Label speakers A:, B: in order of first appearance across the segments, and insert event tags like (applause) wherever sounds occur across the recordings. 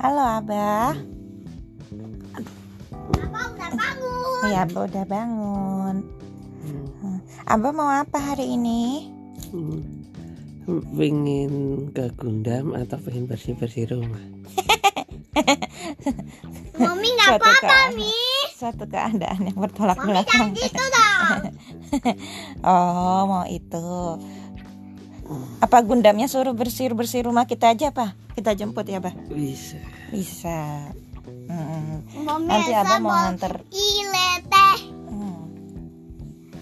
A: Halo Abah.
B: Abang udah bangun. Hmm.
A: Ya Abah udah bangun. Abah mau apa hari ini?
C: Hmm, Pengen ke Gundam atau pengen bersih-bersih rumah?
B: Mami
A: (laughs)
B: nggak
A: Suatu
B: apa-apa,
A: keadaan.
B: Mi.
A: Suatu keadaan yang bertolak
B: Mami jangan
A: belakang.
B: gitu dong.
A: (laughs) Oh mau itu. Apa Gundamnya suruh bersih bersih rumah kita aja Pak? Kita jemput ya Abah.
C: Bisa.
A: Bisa. Hmm. Mm-mm.
B: Mami
A: Nanti
B: Elsa
A: Abah mau
B: mau
A: nganter.
B: ilete.
A: Hmm.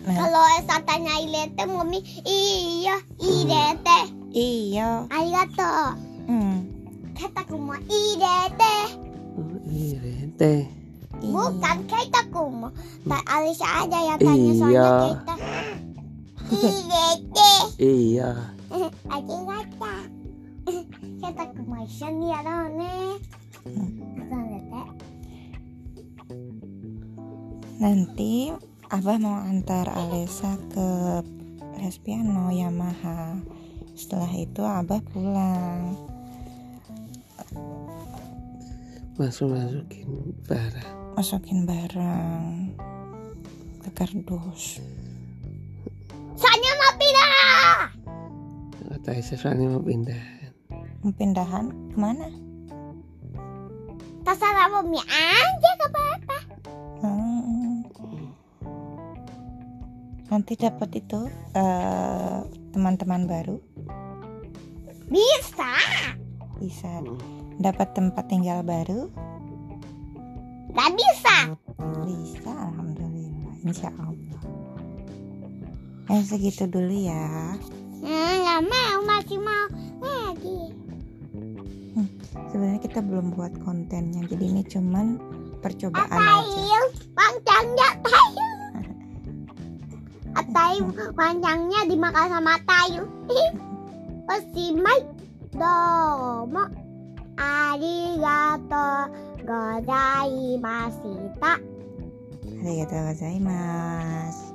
B: Kalau Elsa tanya ilete, Mami iya
A: Hmm.
B: ilete.
A: Iya.
B: Arigato.
A: Hmm.
B: Katakumo ilete.
C: Oh, iya, Rente.
A: Iya.
B: Bukan kaitakumo.
A: Hmm.
B: Tak Alisa aja yang tanya soalnya
C: Iya.
B: kita. Ilete.
A: (laughs)
C: Iya.
B: Arigato. (laughs) Katakumo isan ya lo ne.
A: Hmm.
B: Bukan ilete.
A: Nanti Abah mau antar Alesa ke les piano Yamaha. Setelah itu Abah pulang.
C: Langsung masukin barang.
A: Masukin barang ke kardus.
B: Soalnya mau pindah.
C: Kata Isefani mau pindah.
A: Mau Pindahan kemana?
B: Terserah Mami aja ke papa.
A: Hmm. Nanti dapat itu eh, teman-teman baru
B: Bisa.
A: bisa dapat tempat tinggal baru
B: Gak bisa.
A: bisa alhamdulillah insya Allah. Eh segitu dulu ya.
B: Hmm, gak mau, masih mau lagi.
A: sebenarnya kita belum buat kontennya jadi ini cuman percobaan aja
B: Atail panjangnya tayu. Atail panjangnya dimakan sama tayu. (laughs) Osimai domo. Arigato gozaimashita.
A: arigatou gozaimasu